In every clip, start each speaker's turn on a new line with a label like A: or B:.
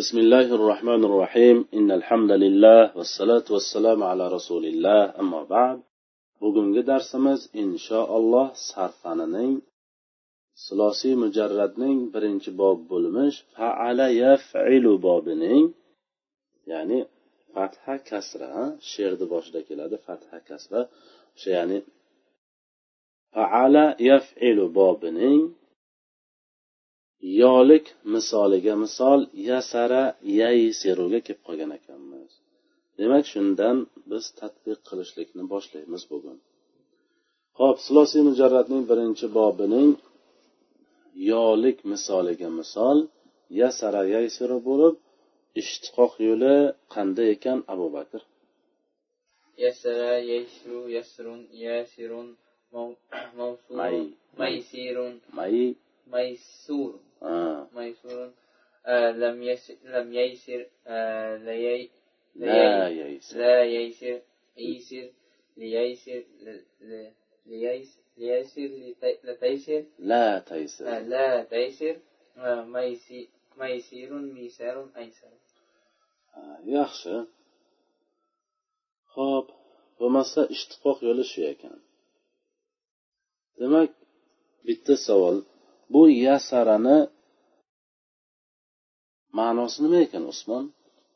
A: بسم الله الرحمن الرحيم إن الحمد لله والصلاة والسلام على رسول الله أما بعد bugungi darsimiz inshaalloh sarfanining silosiy mujarradning birinchi bob bo'lmish faala yafilu bobining ya'ni fatha kasra she'rni boshida keladi fatha kasra o'sha ya'ni faala yafilu bobining yolik misoliga misol yasara yaysiruga kelib qolgan ekanmiz demak shundan biz tadbiq qilishlikni boshlaymiz bugun ho'p silosiy mujarratning birinchi bobining yolik misoliga misol yasara yaysira bo'lib ishtiqoq yo'li qanday ekan abu bakr
B: يسرى يسرو يسر ياسر مو- موصور
A: مي-
B: ميسير
A: may
B: ميسور
A: ha,
B: ميسور آه، لم يس لم ييسر آه، ليي
A: la
B: ليي-
A: yaysir
B: لا ييسر ييسر لييسر ل- ل- لييس- لييسر لتي- لتيسر
A: la taysir
B: آه، لا تيسر آه، ميسي- ميسير ميسار أيسر
A: Ha, yaxshi ho'p bo'lmasa ishtiqoq yo'li shu ekan demak bitta savol bu yasarani ma'nosi nima ekan usmon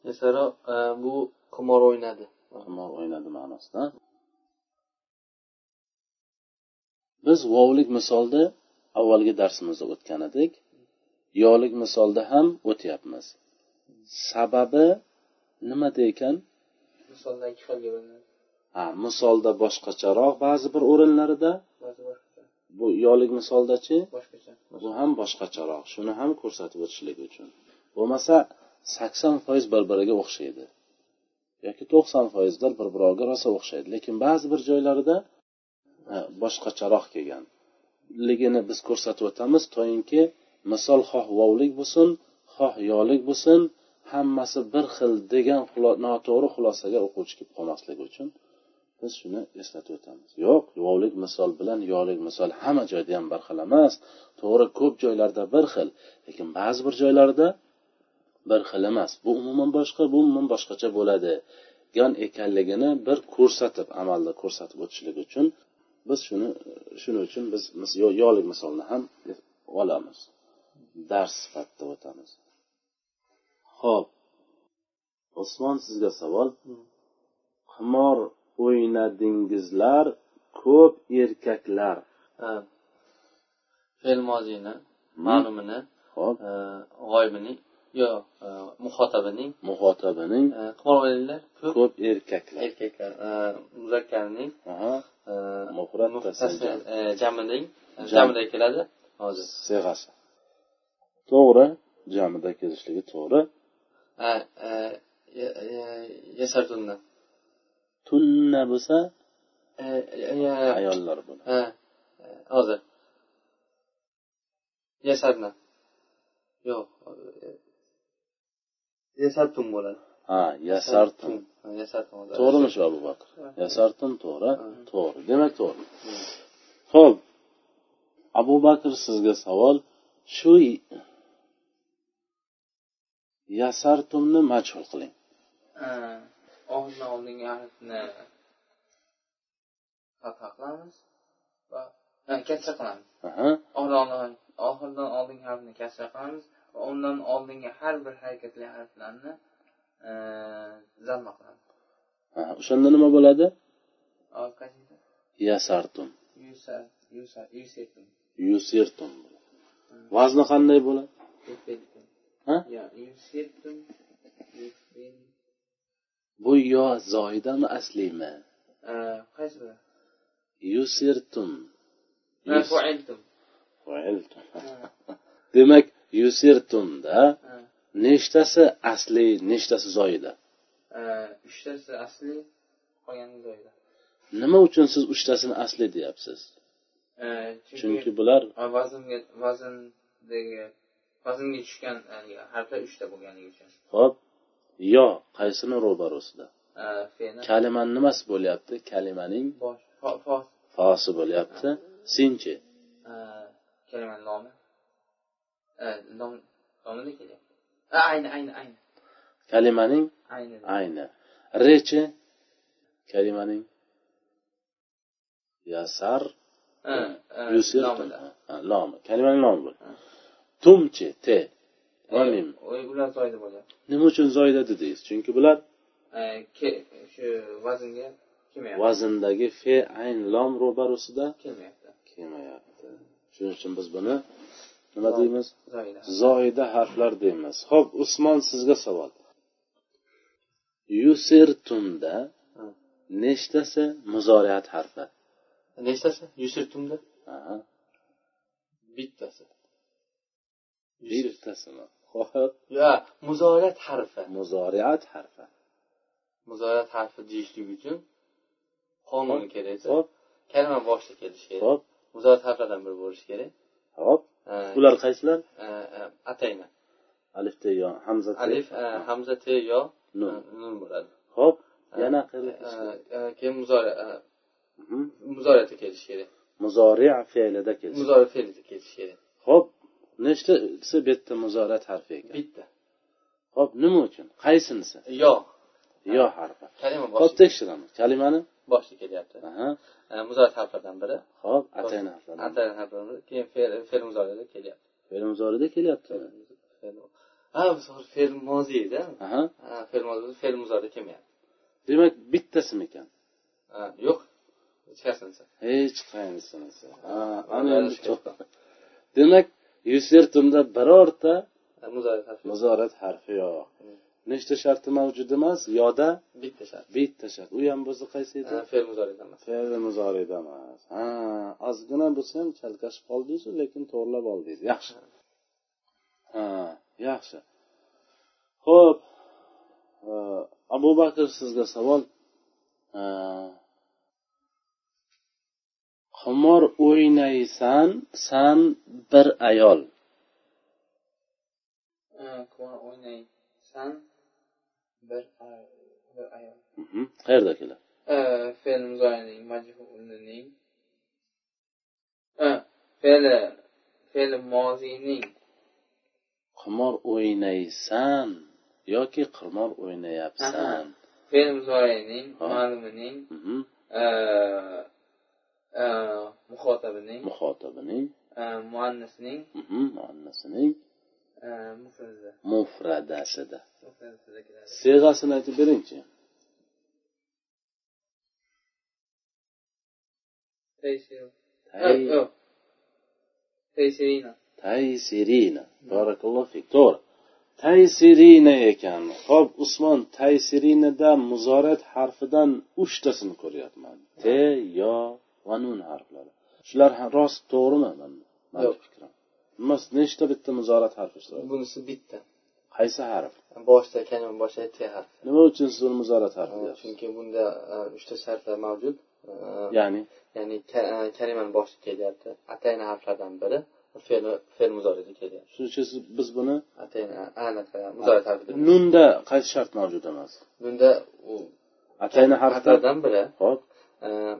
C: Mesela e, bu kumar oynadı.
A: qimor o'ynadi ma'nosida biz vovlik misolda avvalgi darsimizda o'tgan edik yolik misolda ham o'tyapmiz sababi nimada ekan
B: مثلا iki xilga bo'linadi
A: ha misolda boshqacharoq ba'zi bir o'rinlarida
B: ba'zi boshqacha
A: bu yolik misoldachi
B: boshqacha
A: bu ham boshqacharoq shuni ham ko'rsatib o'tishlik uchun bo'lmasa sakson foiz bir biriga o'xshaydi yoki to'qson foizlar bir birovga rosa o'xshaydi lekin ba'zi bir joylarida e, boshqacharoq kelganligini biz ko'rsatib o'tamiz toinki misol xoh vovlik bo'lsin xoh yolik bo'lsin hammasi bir xil degan xulo- noto'g'ri xulosaga o'quvchi kelib qolmasligi uchun biz shuni eslatib o'tamiz yo'q vovlik misol bilan yolik misol hamma joyda ham bir xil emas to'g'ri ko'p joylarda bir xil lekin ba'zi bir joylarda bir xil emas bu umuman boshqa bu umuman boshqacha bo'ladi yon ekanligini bir ko'rsatib amalda ko'rsatib o'tishlik uchun biz shuni shuning uchun biz mis- yo- yolik misolni ham olamiz dars sifatida o'tamiz ho'p usmon sizga savol qimor o'ynadingizlar ko'p erkaklar
C: Ha. Fe'l mozini, ma'lumini,
A: hop
C: e, g'oyibini yo e, muhotabining
A: muhotabining
C: e, kumar o'ynaganlar ko'p
A: ko'p erkaklar
C: erkaklar e, muzakkarning
A: aha
C: e,
A: Mufrat tasnif.
C: tasnif, e, jamining e,
A: Jam.
C: jamida keladi hozir.
A: seg'asi to'g'ri jamida kelishligi to'g'ri
C: Ha, e, ya- ya- Yasardunni.
A: tunna bo'lsa
C: E, e, e,
A: ayollar bo'ladi
C: Ha, e, hozir. Yasarna. Yo'q. e, Yasartun bo'ladi.
A: ha yasartum
C: Ha, Yasartun bo'ladi.
A: to'g'rimi shu abu bakr yasartum to'g'ri to'g'ri demak to'g'ri ho'p abu bakr sizga savol shu y- yasartumni majhul qiling
B: Э, oldin oldingi harfni fatha qilamiz va ha, kasra qilamiz
A: aha
B: Oldin- oldin- oxiridan oldingi harfni kasra qilamiz va undan oldingi har bir harakatli harflarni э, zamma qilamiz
A: aha. o'shanda nima bo'ladi
B: Hop, qaysi?
A: yasartum
B: Yusa- yusa- yusirtum.
A: yusirtum vazni qanday bo'ladi
B: Yufirtum.
A: Ha?
B: Yo, yusirtum, yufir-
A: bu yo zoidami aslimi
B: э, qaysi biri?
A: yusirtum
B: Ha,
A: Yus-
B: fuiltum.
A: fu'iltum.
B: Ha,
A: demak yusirtumda
B: ha.
A: nechtasi asli nechtasi zoida
B: Э, uchtasi asli qolgani zo'yda
A: nima uchun siz uchtasini asli deyapsiz
B: Э, chunki
A: chunki bular
B: va vaznga vazndagi vaznga tushgan haligi harflar uchta bo'lganligi uchun
A: hop yo qaysini ro'barosida
B: Э, fe'li
A: kalimani nimasi bo'lyapti kalimaning
B: bosh fo- fo-
A: fosi bo'lyapti sinchi
B: э, kalimani nomi Э, nom nomida kelyapti
D: Ha, ayni ayni ayni
A: kalimaning
D: ayni
A: ayni rechi kalimaning yasar
B: Э,
D: Ha, ha,
A: yusir
D: nomida.
A: ha, lomi kalimaning nomi bu
D: Ha.
A: tumchi te va mim
B: Э,
D: Oy, ular zoyda bo'lyapti
A: nima uchun zoyida dedingiz chunki bular
B: Э,
D: Eh, ke- shu vaznga kelmayapti
A: vazndagi fe ayn lom ro'barasida
D: kelmayapti
A: kelmayapti shuning uchun biz buni nima
D: Lom.
A: deymiz
D: zoyda
A: zoida harflar deymiz ho'p usmon sizga savol yusirtunda
B: Ha.
A: nechtasi muzoriyat harfi
B: nechtasi yuz yirtumda
A: Aha,
B: bittasi Yuz yirtum.
A: bittasimi ho'p
B: yo muzorat harfi
A: muzoriyat harfi
B: muzorat harfi deyishlik uchun qonun kerak
A: ho'p
B: kalima boshida kelishi kerak
A: ho'p
B: muzorat harflardan biri bo'lishi kerak
A: ho'p
B: Ha,
A: ular qaysilar
B: ha, ha, atayna
A: alifta yo hamza
B: alif ha, hamza te yo
A: nun
B: ha, nun bo'ladi
A: ho'p
B: Ha,
A: yana Mhm.
B: ha, ha, keyin muzora ha, muzorati kelishi kerak
A: muzori fe'lida kelsin
B: muzora fe'lida kelishi kerak
A: ho'p nechtasi bu yerda muzoriyat harfi ekan
B: bitta
A: ho'p nima uchun qaysinisi
B: yo
A: yo harfi
B: kalima
A: ho'p
B: boshida
A: tekshiramiz kalimani
B: boshida kelyapti
A: Aha,
B: Ha, muzorat harflaridan biri
A: ho'p atayin harflari
B: atayin harflari keyin fe'l fe'l muzorada kelyapti
A: fe'l muzorida kelyapti
B: Fe'l- ha misol fe'l moziyda
A: aha
B: Ha, fe'l moziyda fe'l muzorada kelmayapti
A: demak bittasimikan
B: Ha, yo'q hech qaysinisi
A: hech qaynisinisi Ha, ana endi to'g'ri. demak yusirtumda birorta
B: Ha, muzorat harfi
A: muzorat harfi yo'q nechta sharti mavjud emas yoda
B: bitta shart
A: bitta shart u ham bo'lsa qaysi edi
B: Ha, fe'l muzorada emas
A: fe'l muzorida emas ha ozgina bo'lsa ham chalkashib qoldingizu lekin to'g'rilab oldingiz yaxshi ha yaxshi ho'p e, abu bakr sizga savol E, qimor o'ynaysan san bir ayol
D: Ha, qumor o'ynaysan bir ay- bir ayol
A: Mhm, qayerda keladi
D: Eh, fe'l muzoyning majhulining Eh, fe'li fe'li moziyning
A: qimor o'ynaysan yoki qimor o'ynayapsan
D: fe'l muzoyining
A: Ha.
D: ma'lumining
A: Mhm,
D: eh, eh, muhotabining
A: muhotabining
D: eh, muannisning
A: mhm, muannasining
D: eh, mufradi
A: mufradasida
D: mufradida kiradi
A: siyg'asini aytib beringchi
D: Taysil.
A: Tay-
D: Eh, yo'q. Taysirina.
A: taysirina barakallohu fik to'g'ri taysirina ekan ho'p usmon taysirinada muzorat harfidan uchtasini ko'ryapman te yo va nun harflari shular ha- rost to'g'rimi mani- mani
B: Yo'q.
A: fikrim emas nechta bitta muzorat harfi ishlaydi
B: bunisi bitta
A: qaysi harf
B: boshida kalima boshida te harfi
A: nima uchun siz uni muzorat harfi
B: Ha,
A: deyapsiz
B: chunki bunda ha, uchta shartlar mavjud Ha,
A: ya'ni
B: ya'ni ka- eh, kalimani boshida kelyapti atayna harflardan biri fe'l fe'l muzorida kelyapti
A: shuning uchun siz- biz buni
B: atayna anaqa muzorat harfi deb-
A: nunda qaysi shart mavjud emas
B: bunda u
A: atayni harflardan
B: harflardan biri
A: ho'p
B: eh,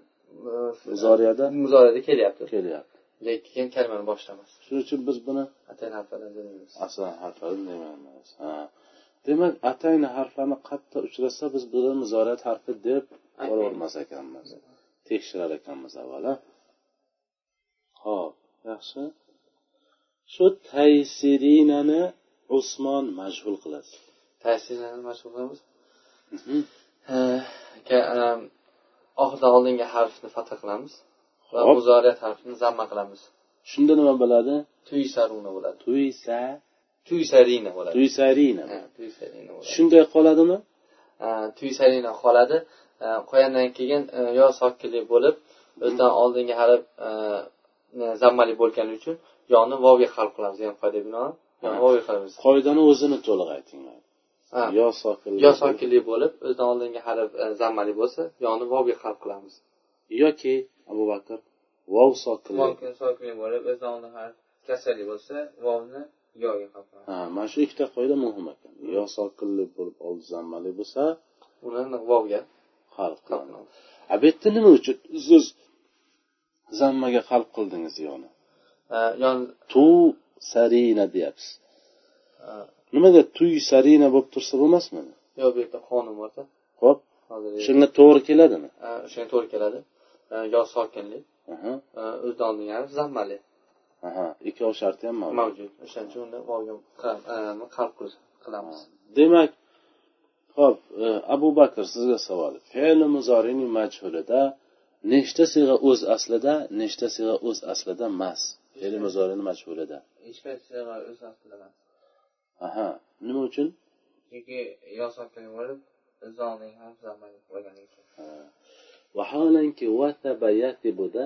A: muzoriyada
B: muzorada kelyapti
A: kelyapti
B: lekin kalimani boshida emas
A: shuning uchun biz buni
B: atayna harflardan demaymiz
A: aslan harflari demaymiz ha demak atayn harflarni qayerda uchrasa biz buni muzorat harfi deb ko'ravermas ekanmiz tekshirar ekanmiz avvalo ho'p yaxshi shu taysirinani usmon majhul qilasiz
B: ta'sirlarni mashhur qilamiz
A: Mhm.
B: Eh, ka- em, oxiridan oldingi harfni fatha qilamiz va
A: Hop.
B: muzoriyat harfini zamma qilamiz
A: shunda nima bo'ladi
B: tuysaruna bo'ladi
A: tuysa
B: tuysarina bo'ladi
A: tuysarina
B: Ha, tuysarina bo'ladi
A: shunday qoladimi
B: Eh, tuysarina qoladi Eh, qo'yandan keyin eh, yo sokkili bo'lib
A: Mhm.
B: o'zidan oldingi harf eh, zammali bo'lgani uchun yoni vovga qalb qilamiz degan qoidaga binoan yoni
A: Ha.
B: vovga qilamiz
A: qoidani o'zini to'liq aytinglar
B: Ha,
A: yo sokin
B: yo sokinli bo'lib o'zidan oldingi harf eh, zammali bo'lsa yoni vovga qalb qilamiz
A: yoki abu bakr vov sokinli
D: Mumkin sokin bo'lib o'zidan oldin harf kasali bo'lsa, vovni yoga qilamiz.
A: ha mana shu ikkita qoida muhim ekan yo sokinli bo'lib oldi zammali bo'lsa
B: uni vovga
A: qalb
B: qalb
A: qiladi
B: qilamiz
A: a bu yerda nima uchun siz zammaga qalb qildingiz yoni
B: Eh, yon
A: tu sarina deyapsiz
B: eh,
A: nimada tuy sarina bo'lib tursa bo'lmasmidi
B: yo'q bu yerda qonun borda
A: ho'p
B: hozir
A: shunga to'g'ri keladimi
B: e, o'shanga to'g'ri keladi E, yo sokinlik
A: aha
B: e, o'zini oldingi harf zammali
A: aha ikkov sharti ham mavjud
B: mavjud o'shaning uchun uni vovga qa- e, qalb qilish- qilamiz
A: demak ho'p e, abu bakr sizga savol fe'li muzorining majhulida nechta siyg'a o'z aslida nechta siyg'a o'z aslida emas fe'li muzorini majhulida
D: hech qaysi sig'a o'z aslida emas
A: aha nima uchun
D: chunki yo sokin bo'lib o'z oldingi harf zammali bo'lganligi uchun
A: vaholanki vataba yatibuda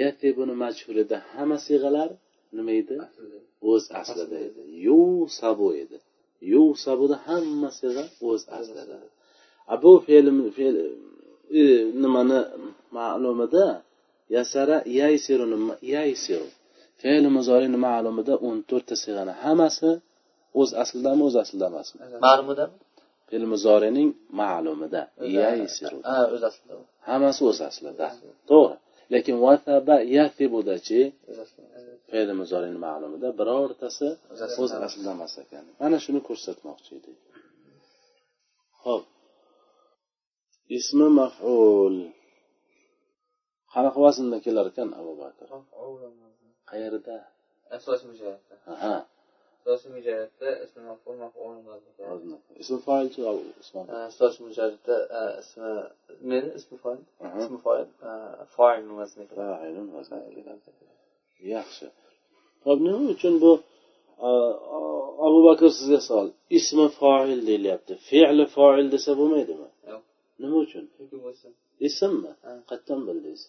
A: yatibuni majhulida hamma siyg'alar nima edi
D: aslida
A: o'z aslida edi yusabu edi yusabuda hamma siyg'a o'z aslida a bu fe'l fe'l e, nimani ma'lumida yasara yaysiruni ma- yaysiru fe'l muzorini ma'lumida o'n to'rtta siyg'ani hammasi o'z aslidami o'z aslida emasmi
B: ma'lumidami
A: fe'l muzorining ma'lumida yaysiru
B: ha o'z aslida u.
A: hammasi o'z aslida to'g'ri lekin vasaba yasibudachi
B: O'z aslida.
A: fe'li muzorini ma'lumida birortasi
B: aslida
A: o'z aslida emas ekan mana shuni ko'rsatmoqchi edik ho'p ismi maful qanaqa vaznda kelar ekan abu bakr qayerda
D: asos mujohidda
A: aha
D: asosiy mujohidda ismi maful maful
A: vazn. ism foilchi Abu Usmon?
B: E, ustoz mujarridda e, ismi meni ismi foil
A: Aha.
B: ismi foil e, foilni vazni keladi.
A: Failun vaznda keladi. yaxshi ho'p nima uchun bu a, a- abu bakr sizga savol ismi foil deyilyapti fe'li foil desa bo'lmaydimi
D: yo'q
A: nima uchun
D: chunki bu ism
A: ismmi
D: Ha.
A: qayerdan bildingiz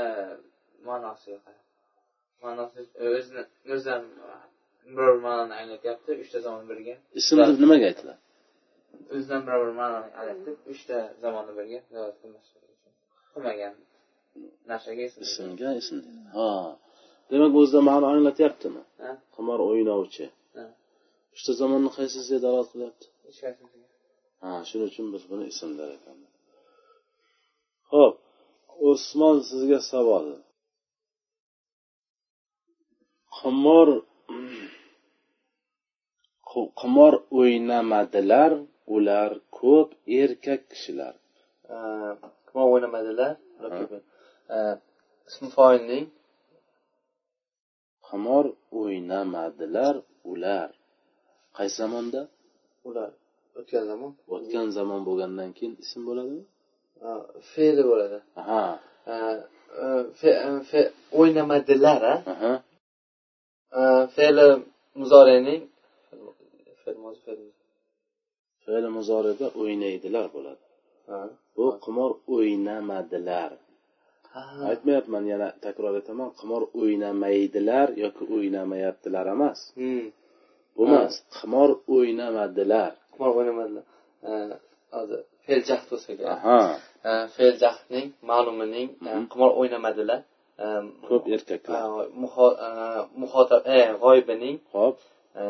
D: eh, ma'nosiga qarab ma'nosi o'zini o'zidan biror ma'noni anglatyapti uchta zamon birga
A: ism deb nimaga aytiladi
D: o'zidan biror bir ma'noni anglatib uchta zamonni birga rivoyat qilmoqchi qilmagan narsaga ism deyiladi.
A: ismga ism deydi. ha demak o'zida ma'no anglatyaptimi
D: Ha?
A: qimor o'ynovchi
D: Ha.
A: uchta zamonni qaysisiga dalolat qilyapti
D: hech qaysi
A: ha shuning uchun biz buni ism der ekanmiz ho'p usmon sizga savol qimor Qu- qimor o'ynamadilar ular ko'p erkak kishilar
B: E, qimor o'ynamadilar ular ko'p- e, ismi foilning
A: qimor o'ynamadilar ular qaysi zamonda
B: ular o'tgan zamon
A: o'tgan zamon bo'lgandan keyin ism bo'ladimi
B: e, fe'li bo'ladi
A: aha
B: E, e, fe- e, fe- o'ynamadilar a
A: aha
B: E, fe'li muzorining fe'l mozi, fe'l mozi.
A: fe'l muzorida o'ynaydilar bo'ladi
B: Ha.
A: bu qimor o'ynamadilar
B: Ha.
A: aytmayapman yana takror aytaman qimor o'ynamaydilar yoki o'ynamayaptilar emas
B: Hmm.
A: bu emas qimor o'ynamadilar
B: qimor o'ynamadilar E, hozir fe'l jahd bo'lsa kerak.
A: aha
B: E, fe'l jahdning ma'lumining e, qimor o'ynamadilar E,
A: ko'p
B: e,
A: erkaklar
B: muho- e, muhotab e, g'oyibining
A: hop
B: e,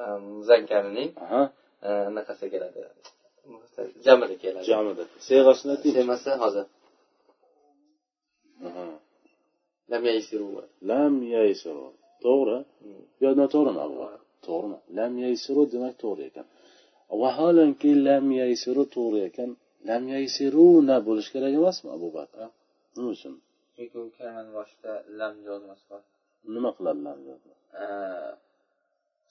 B: e, muzakkarining
A: aha
B: e, anaqasi keladi jamili keladi
A: jamida siyg'asini aytingchi
B: semasi hozir
A: Aha.
B: lam yaysiru va-
A: lam yaysiru to'g'ri
B: Hmm.
A: yo noto'g'rimi abu bakr to'g'rimi lam yaysiru demak to'g'ri ekan vaholanki lam yaysiru to'g'ri ekan lam yaysiruna bo'lishi kerak emasmi abu bakr nima uchun
D: chunki u kalimani boshida lam yozmasi bor
A: nima qiladi lam dedi?
D: Eh,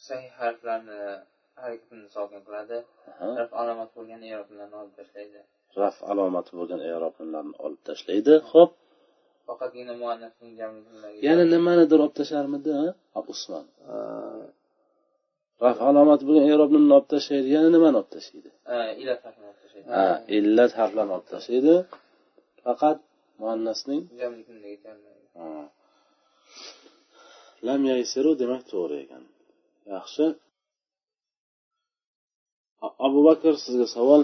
D: sahih harflarni harakatini sokin qiladi
A: Aha.
D: harf alomat bo'lgan eroblarni olib tashlaydi
A: raf alomati bo'lgan eroblarni olib tashlaydi ho'p
D: faqatgina muannasning jamligi
A: yana nimanidir olib tashlarmidi ha? Abu usmon
B: E,
A: raf alomati bo'lgan eroblarni olib tashlaydi yana nimani olib tashlaydi
D: ila harfini olib tashlaydi
A: ha illat harflarni olib tashlaydi faqat muannasning
D: jamlikni jamlaydi
A: Ha. lam yaysiru demak to'g'ri ekan yaxshi A- abu bakr sizga savol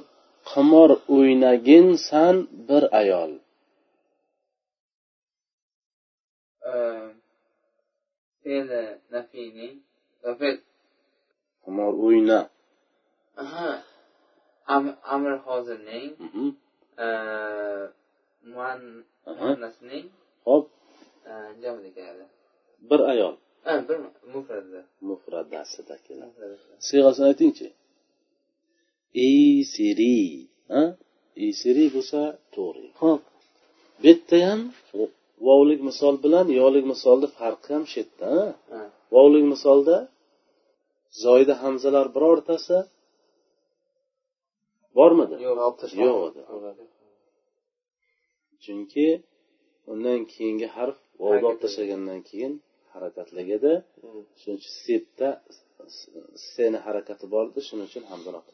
A: qimor o'ynaginsan bir ayol
D: Eh, fe'li nafiyning va fe'l
A: qimor o'yna
D: Aha. Am- amr hozirning
A: Mhm.
D: eh, muan-
A: Aha.
D: muannasning
A: hop
D: eh, jamida keladi
A: bir ayol
D: Ha, bir mufradda.
A: mufradasida keladi
D: Mufradda.
A: siyg'asini aytingchi isiri ha isiri bo'lsa to'g'ri ho'p bu yerda ham vovlik misol bilan yolik misolni farqi ham shu yerda ha?
D: Ha.
A: vovlik misolda zoyda hamzalar birortasi bormidi
B: yo'q olib
A: Yo'q edi. chunki undan keyingi harf vovni olib
D: Harakatlanadi.
A: tashlagandan keyin harakatlanadi shuning uchun sepda seni harakati bor edi shuning uchun hamzani oldi.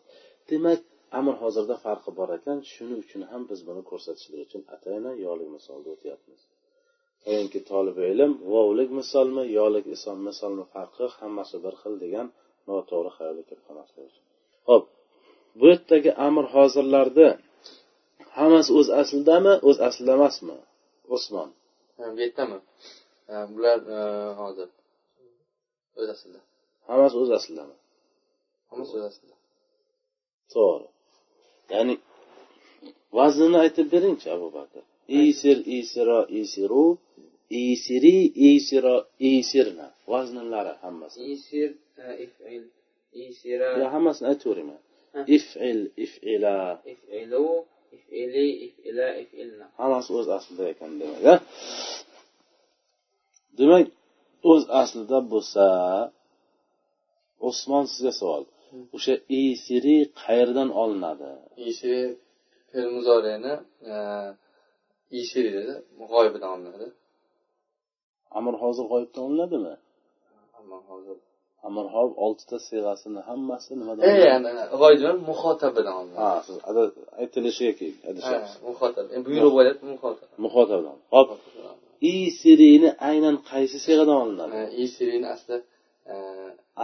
A: demak amir hozirda farqi bor ekan shuning uchun ham biz buni ko'rsatishlik uchun atayna yolik misolda o'tyapmiz ayonki tolib ilm vovlik misolmi yolik isom misolmi farqi hammasi bir xil degan noto'g'ri xayolga kirib qolmaslik uchun ho'p bu yerdagi amir hozirlarni hammasi o'z aslidami o'z aslida emasmi usmon
B: bu yerdami Ha, bular e, hozir o'z aslida
A: hammasi o'z aslidami
B: hammasi o'z aslida
A: to'g'ri ya'ni vaznini aytib beringchi abu bakr isir isiro isiru isiri isiro isirna vaznlari hammasi
D: Isir, e, if'il,
A: Ya,
D: isira,
A: hammasini aytavering man.
D: Ha.
A: ifil ifila
D: if'ilu, if'ili, if'ila, if'ilna.
A: hammasi o'z aslida ekan demak a demak o'z aslida bo'lsa usmon sizga savol o'sha isiri qayerdan olinadi
B: ishiri fe'l muzoreni ishiri e, dedi g'oyibidan olinadi
A: amir hozir g'oyibdan olinadimi
B: ammo hozir
A: amirhob oltita siyg'asini hammasi nimadan
B: e
A: olinadi?
B: ya'ni g'oyib demak muhotabadan
A: ha
B: olinadi
A: siz ada- aytilishiga keyin
B: Ha,
A: adashyapsiz
B: muhotab E, buyruq bo'lyapti muhotab
A: muhotabdan hop i sirini aynan qaysi siyg'adan olinadi
B: ishirini asli e,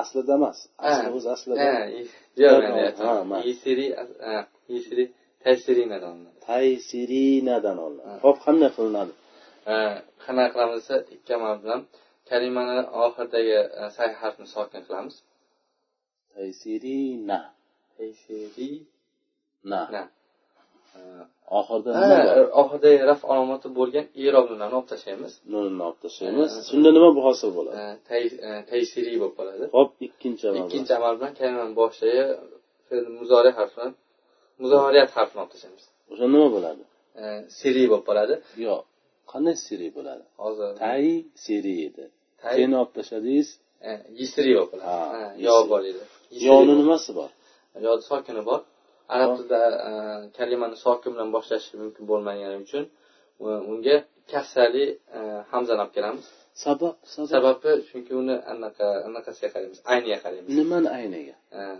A: aslida emas asli
B: Ha.
A: o'z aslida
B: ha, i- yo'q
A: Ha, ha.
B: yani ishiri eh, ishiri tasirinadan olinadi
A: taysirinadan olinadi
B: Ha.
A: hop qanday qilinadi
B: E, qanaqa qilamiz desa ikki amal bilan kalimani oxiridagi e, say harfni sokin qilamiz
A: taysirina
B: ishiri
A: na
B: na E,
A: oxirida
B: Ha,
A: nima bor
B: oxirida raf alomati bo'lgan irob nimlarni olib tashlaymiz
A: nunni olib tashlaymiz
B: Ha.
A: shunda nima hosil bo'ladi
B: E, tay- e, taysiri bo'lib qoladi
A: hop ikkinchi amal
B: ikkinchi amal bilan kalimani boshidagi fe'l muzori harfini muzoriyat harfini olib tashlaymiz
A: o'sha nima bo'ladi
B: E, siri bo'lib qoladi
A: yo'q qanday siri bo'ladi
B: hozir
A: tay siri edi
B: tay
A: seni olib tashladingiz
B: e, yisiri bo'lib qoladi
A: Ha,
B: Ha,
A: yisiri.
B: yo bo'ladi Yisiri
A: yoni
B: bo'lib-
A: nimasi bor
B: yodi sokini bor arab
A: Bor.
B: tilida e, kalimani sokin bilan boshlashi mumkin bo'lmagani uchun e, unga kasrali e, hamzani olib kelamiz
A: sabab sabab
B: sababi chunki uni anaqa anaqasiga qaraymiz ayniga qaraymiz
A: nimani ayniga
B: Eh,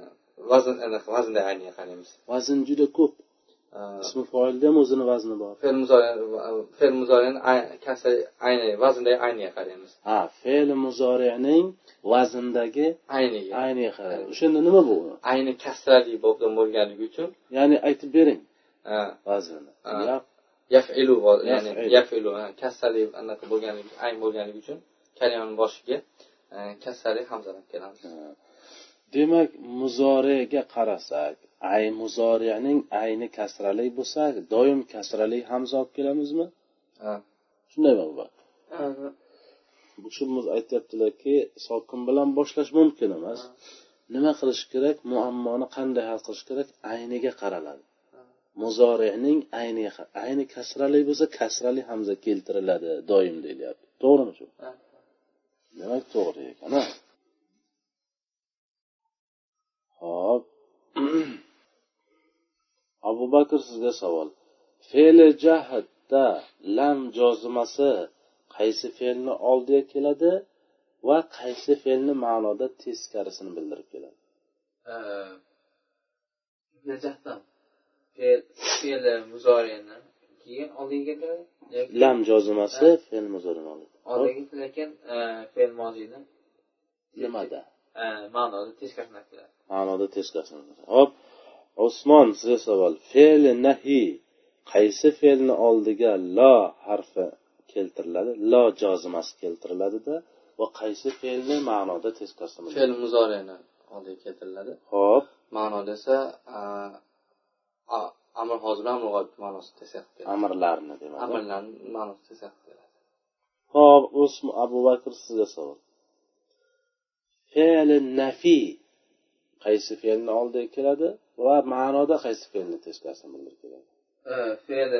B: vazn anaqa vaznda ayniga qaraymiz
A: vazn juda ko'p
B: Eh,
A: ismi foilda ham o'zini vazni bor
B: fe'l muzori fe'l muzorini kasa ayni vazndagi ayniga qaraymiz
A: ha fe'l muzorining vazndagi
B: ayniga
A: ayniga qaraydi o'shanda nima bu
B: ayni kasrali bobdan bo'lganligi uchun
A: ya'ni aytib bering
B: eh,
A: vaznini
B: Ha.
A: Yap,
B: yafilu vo- ya'ni
A: Yafilu.
B: yafilu eh, kasrali anaqa bo'lganligi ayn bo'lganligi uchun kalimani boshiga eh, kasrali hamzalab kelamiz
A: ha. demak muzoriga qarasak ay muzorining ayni kasrali bo'lsa doim kasrali hamza olib kelamizmi
B: Ha,
A: shundaymi bu
D: Ha,
A: bu kishimiz aytyaptilarki sokin bilan boshlash mumkin emas nima qilish kerak muammoni qanday hal qilish kerak ayniga qaraladi muzorining ayni ayni kasrali bo'lsa kasrali hamza keltiriladi doim deyilyapti to'g'rimi shu
D: ha.
A: demak to'g'ri ekan a hop abu bakr sizga savol fe'li jahdda lam jozimasi qaysi fe'lni oldiga keladi va qaysi fe'lni ma'noda teskarisini bildirib keladi
D: Eh, Najatdan. Fe'l, fe'li muzorini keyin oldiga keladi. Lekin
A: lam jozimasi fe'l muzorini oladi Hop,
D: oldiga lekin eh, fe'l mozini
A: nimada
D: eh, ma'noda teskarisini keladi.
A: ma'noda teskarisini bildiradi. hop usmon sizga savol fe'li nahi qaysi fe'lni oldiga lo harfi keltiriladi lo jozimasi keltiriladida va qaysi fe'lni ma'noda teskarisini bildiradi?
B: fe'l muzorini oldiga keltiriladi
A: hop
B: ma'noda esa eh, a- amr hozir bilan amr g'oyib ma'nosida teskari qilib keladi.
A: amirlarni demak
B: amirlarni ma'nosi teskari keladi
A: hop Usm- abu bakr sizga savol fe'li nafiy qaysi fe'lni oldiga keladi va ma'noda qaysi fe'lni teskarisini bildiradi
B: Ee,
D: fe'l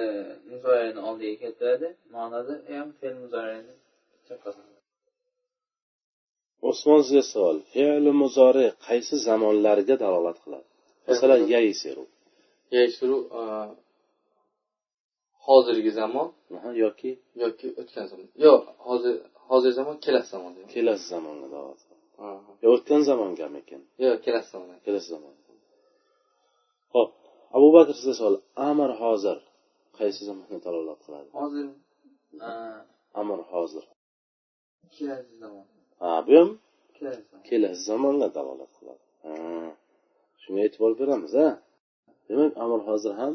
D: muzoyani oldiga keltiradi ma'noda
B: "E,
D: ham fe'l muzoyani
A: usmon sizga savol fe'li muzori qaysi zamonlarga dalolat qiladi masalan yaisiru
B: yashuru hozirgi zamon
A: aha, yoki
B: yoki o'tgan zamon yo'q hozir hozirgi zamon kelasi zamon demak.
A: kelasi zamonga dalolat qiladi
B: Aha.
A: yo o'tgan zamongamikin
B: yo'q kelasi zamon
A: kelasi zamon ho'p abu bakr sizga savol amr hozir qaysi zamonni dalolat qiladi
D: hozir
B: e,
A: amr hozir
D: kelasi zamon
A: ha bu ham
D: kelasi zamon
A: kelasi zamonga dalolat qiladi Ha, shunga e'tibor beramiz a demak amr hozir ham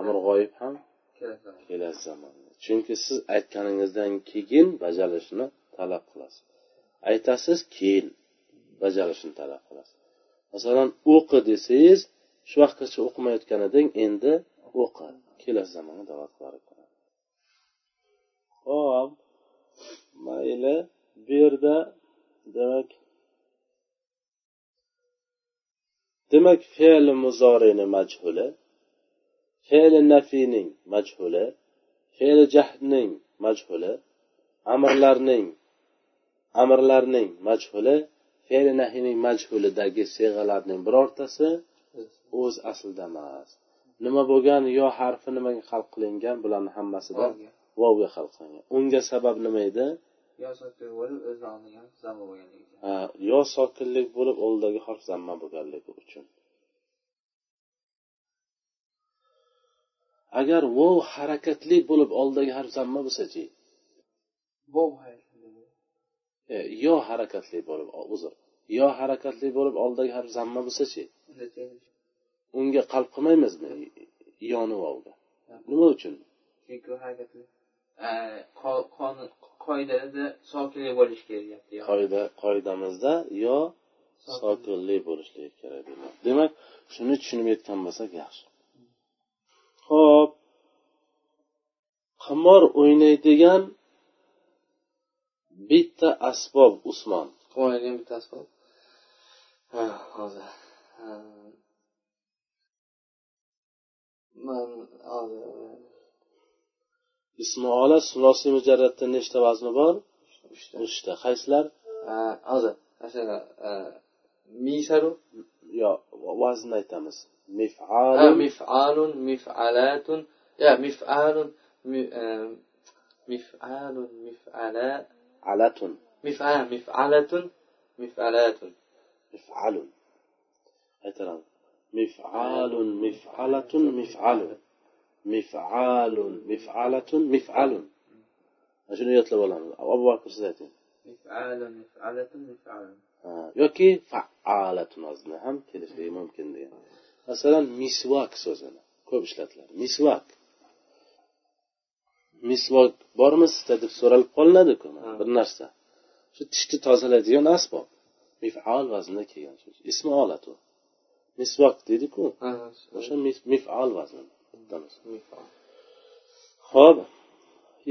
A: amr g'oyib ham
D: kelasi zamon
A: kelasi zamonda chunki siz aytganingizdan keyin bajarilishini talab qilasiz aytasiz keyin bajarilishini talab qilasiz masalan o'qi desangiz shu vaqtgacha o'qimayotgan eding endi o'qi kelasi zamonga da'vat qilib ho'p mayli bu yerda demak demak fe'li muzorini majhuli fe'li nafiyning majhuli fe'li jahdning majhuli amrlarning amrlarning majhuli fe'li nahiyning majhulidagi seg'alarning birortasi o'z aslida emas nima bo'lgan yo harfi nimaga xalq qilingan bularni hammasida
D: Vovga.
A: vovga xalq qilingan unga sabab nima edi
D: yo sokin bo'lib o'zini oldiga zamon bo'lganligi
A: Ha, yo sokinlik bo'lib oldidagi harf zamma bo'lganligi uchun agar vov harakatli bo'lib oldidagi harf zamma bo'lsachi
D: bu
A: E, yo harakatli bo'lib o, uzr yo harakatli bo'lib oldidagi harf zamma bo'lsachi
D: unda teng
A: unga qalb qilmaymizmi yoni vovga nima uchun
D: chunki u harakatli Eh, qo- qonun qoidada sokinlik bo'lishi kerak deyapti
A: qoida qoidamizda yo sokinlik bo'lishligi kerak deyiladi. demak shuni tushunib yetgan bo'lsak yaxshi ho'p qimor o'ynaydigan bitta asbob usmon
B: quvonadigan bittasi bor Ha, hozir Ha. man hozir
A: ismoola sulosiy mujarratda nechta vazni bor
B: uchta
A: uchta qaysilar
B: Ha, hozir mana shunaqa misaru
A: yo vaznni aytamiz
B: Ha,
A: mifalun
B: mif'alun mif'alatun ya mif'alun mi- eh, mif'alun mif'ala
A: alatun
B: mif'al mif'alatun mif'alatun
A: mifalun aytaman mifalun mifalatun mifalun mifalun mifalatun mifalun Mana shuni yodlab olamiz abu bakr siz ayting
D: mif'alun mif'alatun mif'alun
A: Ha, yoki faalatun vazni ham kelishligi mumkin degan masalan misvak so'zini ko'p ishlatiladi misvak misvak bormi sizda deb so'ralib qolinadiku mana
B: Ha.
A: bir narsa shu tishni tozalaydigan asbob mifal vaznida kelgan so'z ismi olat u misvak deydiku
B: Ha,
A: o'sha mis- mifal vaznida bittamisi
B: mif'al.
A: ho'p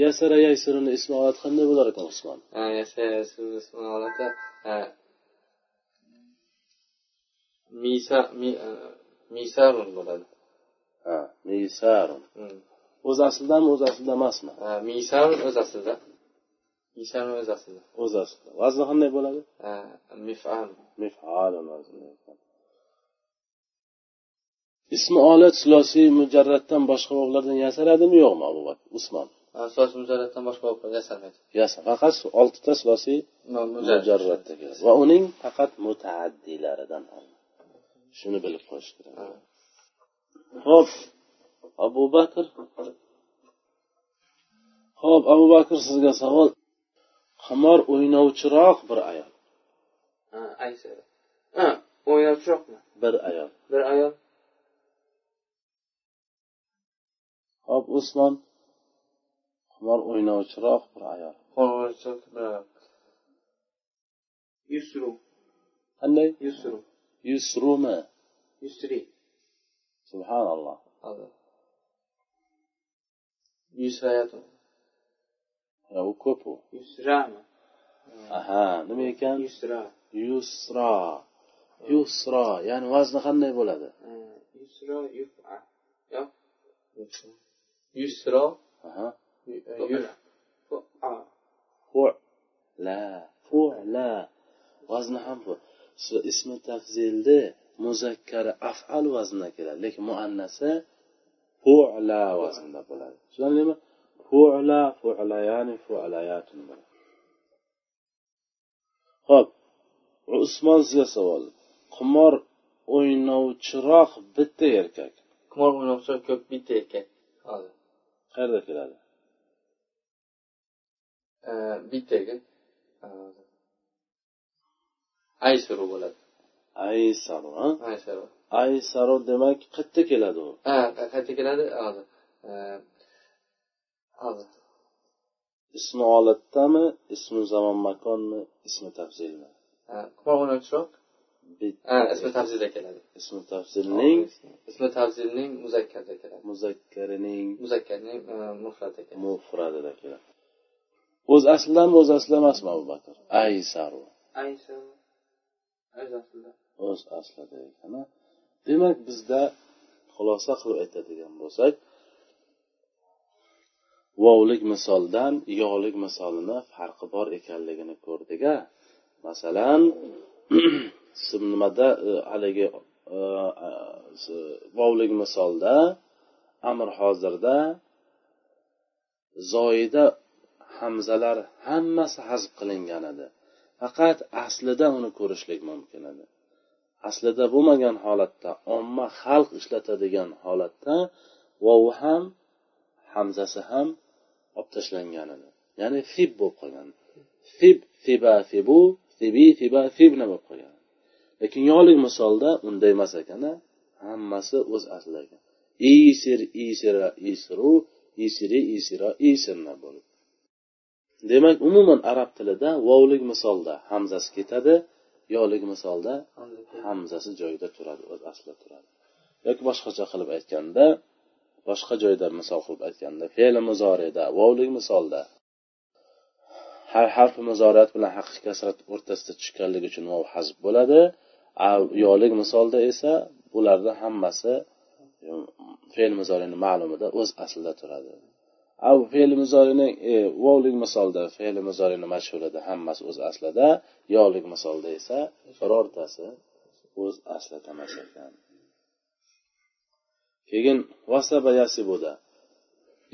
A: yasara yaysiruni ismi olat qanday bo'lar ekan usmon
B: Ha, yasa siz ismini oladi. Ha. Misa mi, eh, misarun bo'ladi.
A: ha misarun
B: Hmm.
A: o'z aslidami o'z aslida emasmi
B: Ha, misarun o'z aslida. Misarun o'z aslida.
A: o'z aslida vazni qanday bo'ladi
B: Ha, mif'al.
A: مفعال وزن ismi olat sulosiy mujarratdan boshqa boblardan yasaladimi yo'qmi abu bakr usmon
B: Ha, so'z mujarratdan boshqa bo'lib yasalmaydi.
A: yasa faqat su- oltita sulosiy
B: No,
A: mujarratda keladi va uning faqat mutaaddilaridan olinadi. shuni bilib qo'yish kerak
B: Ha.
A: ho'p abu bakr ho'p abu bakr sizga savol qimor o'ynovchiroq bir ayol
B: Ha, aysa. Ha, o'yinchoqmi?
A: bir ayol
B: Bir ayol.
A: Hop Usmon qimor o'ynovchiroq bir ayol.
B: Qo'ng'iroqchoq bir ayol. Yusru,
A: Qanday?
B: Yusru,
A: Yusrumi.
B: Yusri.
A: Subhanalloh.
B: Hozir. Yusrayatun.
A: Ya u ko'p u.
D: yusrami
A: Aha, nima ekan?
D: yusra
A: yusro yusro ya'ni vazni qanday bo'ladi
D: Yusro yuf'a. Yo'q.
B: yusro
A: Aha.
B: yu- e, yuf
D: Fu'a.
A: fu'la fu'la vazni ham bu Su- ismi tafzilni muzakkari af'al vaznida keladi lekin muannasi fu'la vaznida bo'ladi tushunarlimi fu'la fu'layani fu'layatun bo'ladi. ho'p usmon sizga savol qimor o'ynovchiroq bitta erkak
B: qimor o'ynamoqchi ko'p bitta erkak hozir
A: qayerda keladi
B: Eh, bittaga eh, aysaru bo'ladi
A: aysaru ha?
B: aysaru
A: aysaru demak qayerda keladi u
B: ha qayerga keladi hozir Eh, hozir
A: ismi olatdami ismi zamon makonmi ismi tafzilmi
B: Eh, qimor o'ynamoqchiroq
A: Bit-
B: ha ismi tafzilda keladi
A: ismi tafzilning
B: ismi tafzilning muzakkarda keladi
A: muzakkarining
B: muzakkarning eh, mufratda keladi
A: mufradida keladi o'z aslidan o'z asli emasmi abu bakr aysaru
D: Aysa. O'z aslida.
A: o'z aslida ekani demak bizda xulosa qilib aytadigan bo'lsak vovlik misoldan yovlik misolini farqi bor ekanligini ko'rdik a masalan sim- nimada e, haligi e, a, s- vovlik misolda amr hozirda zoida hamzalar hammasi hazb qilingan edi faqat aslida uni ko'rishlik mumkin edi aslida bo'lmagan holatda omma xalq ishlatadigan holatda vovi ham hamzasi ham olib tashlangan edi ya'ni fib bo'lib qolgan fib fiba fibu fibi fiba fibna bo'lib qolgan lekin yolik misolda unday emas ekan a. hammasi o'z aslida ekan isir isira isiru isiri isira isirna bo'lib demak umuman arab tilida vovlik misolda hamzasi ketadi yolik misolda hamzasi joyida turadi o'z aslida turadi yoki boshqacha qilib aytganda boshqa joyda misol qilib aytganda fe'li muzorida vovlik misolda har harfi muzoriyat bilan haqiqiy kasrat o'rtasida tushganligi uchun vov hazb bo'ladi a yolik misolda esa bularni hammasi um, fe'l muzorini ma'lumida o'z aslida turadi a fe'l muzorini e, vovlik misolda fe'l muzorini mashhurida hammasi o'z aslida yolik misolda esa birortasi o'z aslida emas ekan keyin vasaba yasibuda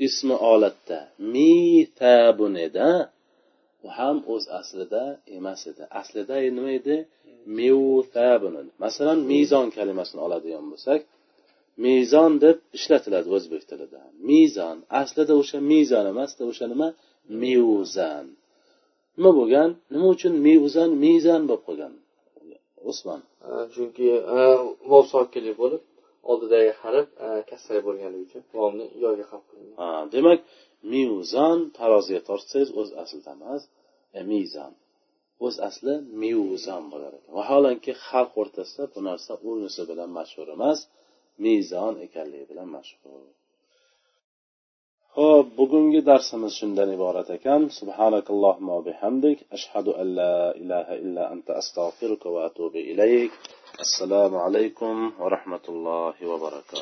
A: ismi olatda mitabun edi u ham o'z aslida emas edi aslida nima edi mevtabun edi. masalan mezon kalimasini oladigan bo'lsak mezon deb ishlatiladi o'zbek tilida mezon aslida o'sha mezon emasda o'sha nima mevzan nima bo'lgan nima uchun mevzan mezon bo'lib qolgan usmon
B: Eh, chunki eh, vov sokinli bo'lib oldidagi harf eh, kasra bo'lganligi uchun vovni yoga hal qilingan
A: Ha, demak mezon taroziga tortsangiz o'z aslida emas e, mezon o'z asli mezon bo'lar ekan vaholanki xalq o'rtasida bu narsa unisi bilan mashhur emas mezon ekanligi bilan mashhur ho'p bugungi darsimiz shundan iborat ekan subhanakallohumma va bihamdik ashhadu an la ilaha illa anta astag'firuka va atubu ilayk assalomu alaykum va rahmatullohi va barakatuh